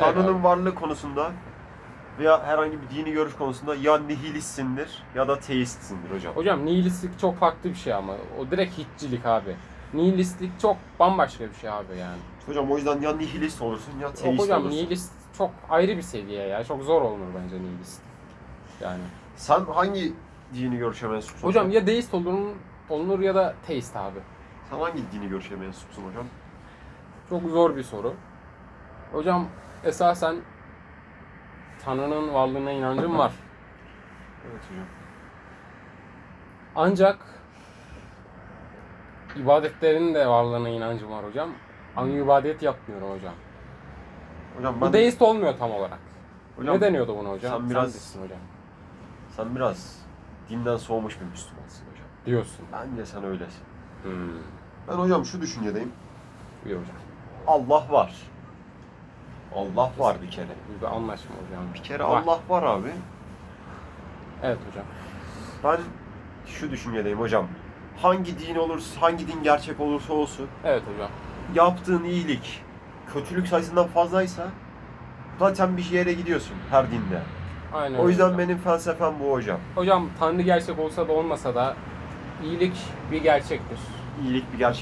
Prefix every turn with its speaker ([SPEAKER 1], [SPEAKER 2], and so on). [SPEAKER 1] Tanrı'nın varlığı konusunda veya herhangi bir dini görüş konusunda ya nihilistsindir ya da teistsindir hocam.
[SPEAKER 2] Hocam nihilistlik çok farklı bir şey ama. O direkt hiççilik abi. Nihilistlik çok bambaşka bir şey abi yani.
[SPEAKER 1] Hocam o yüzden ya nihilist olursun ya
[SPEAKER 2] Yok
[SPEAKER 1] teist
[SPEAKER 2] hocam
[SPEAKER 1] olursun.
[SPEAKER 2] nihilist çok ayrı bir seviye ya. Çok zor olunur bence nihilist. Yani.
[SPEAKER 1] Sen hangi dini görüşe mensupsun?
[SPEAKER 2] Hocam ya deist olunur, olunur ya da teist abi.
[SPEAKER 1] Sen hangi dini görüşe mensupsun hocam?
[SPEAKER 2] Çok zor bir soru. Hocam esasen Tanrı'nın varlığına inancım var.
[SPEAKER 1] Evet hocam.
[SPEAKER 2] Ancak ibadetlerin de varlığına inancım var hocam. Ama ibadet yapmıyorum hocam.
[SPEAKER 1] Hocam Hmm. ben
[SPEAKER 2] Bu deist olmuyor tam olarak.
[SPEAKER 1] hocam,
[SPEAKER 2] ne deniyordu buna hocam?
[SPEAKER 1] sen biraz-
[SPEAKER 2] desin hocam.
[SPEAKER 1] Sen biraz dinden soğumuş bir Müslümansın hocam.
[SPEAKER 2] Diyorsun.
[SPEAKER 1] Bence sen öylesin.
[SPEAKER 2] Hmm.
[SPEAKER 1] Ben hocam şu düşüncedeyim.
[SPEAKER 2] İyi hocam.
[SPEAKER 1] Allah var. Allah var bir kere.
[SPEAKER 2] Bir anlaşma hocam.
[SPEAKER 1] Bir kere
[SPEAKER 2] Var.
[SPEAKER 1] Allah var abi.
[SPEAKER 2] Evet hocam.
[SPEAKER 1] Ben şu düşüncedeyim hocam. Hangi din olursa, hangi din gerçek olursa olsun
[SPEAKER 2] Evet hocam.
[SPEAKER 1] yaptığın iyilik kötülük sayısından fazlaysa zaten bir yere gidiyorsun her dinde.
[SPEAKER 2] Aynen
[SPEAKER 1] O
[SPEAKER 2] öyle
[SPEAKER 1] yüzden
[SPEAKER 2] hocam.
[SPEAKER 1] benim felsefem bu hocam.
[SPEAKER 2] Hocam Tanrı gerçek olsa da olmasa da iyilik bir gerçektir.
[SPEAKER 1] İyilik bir gerçek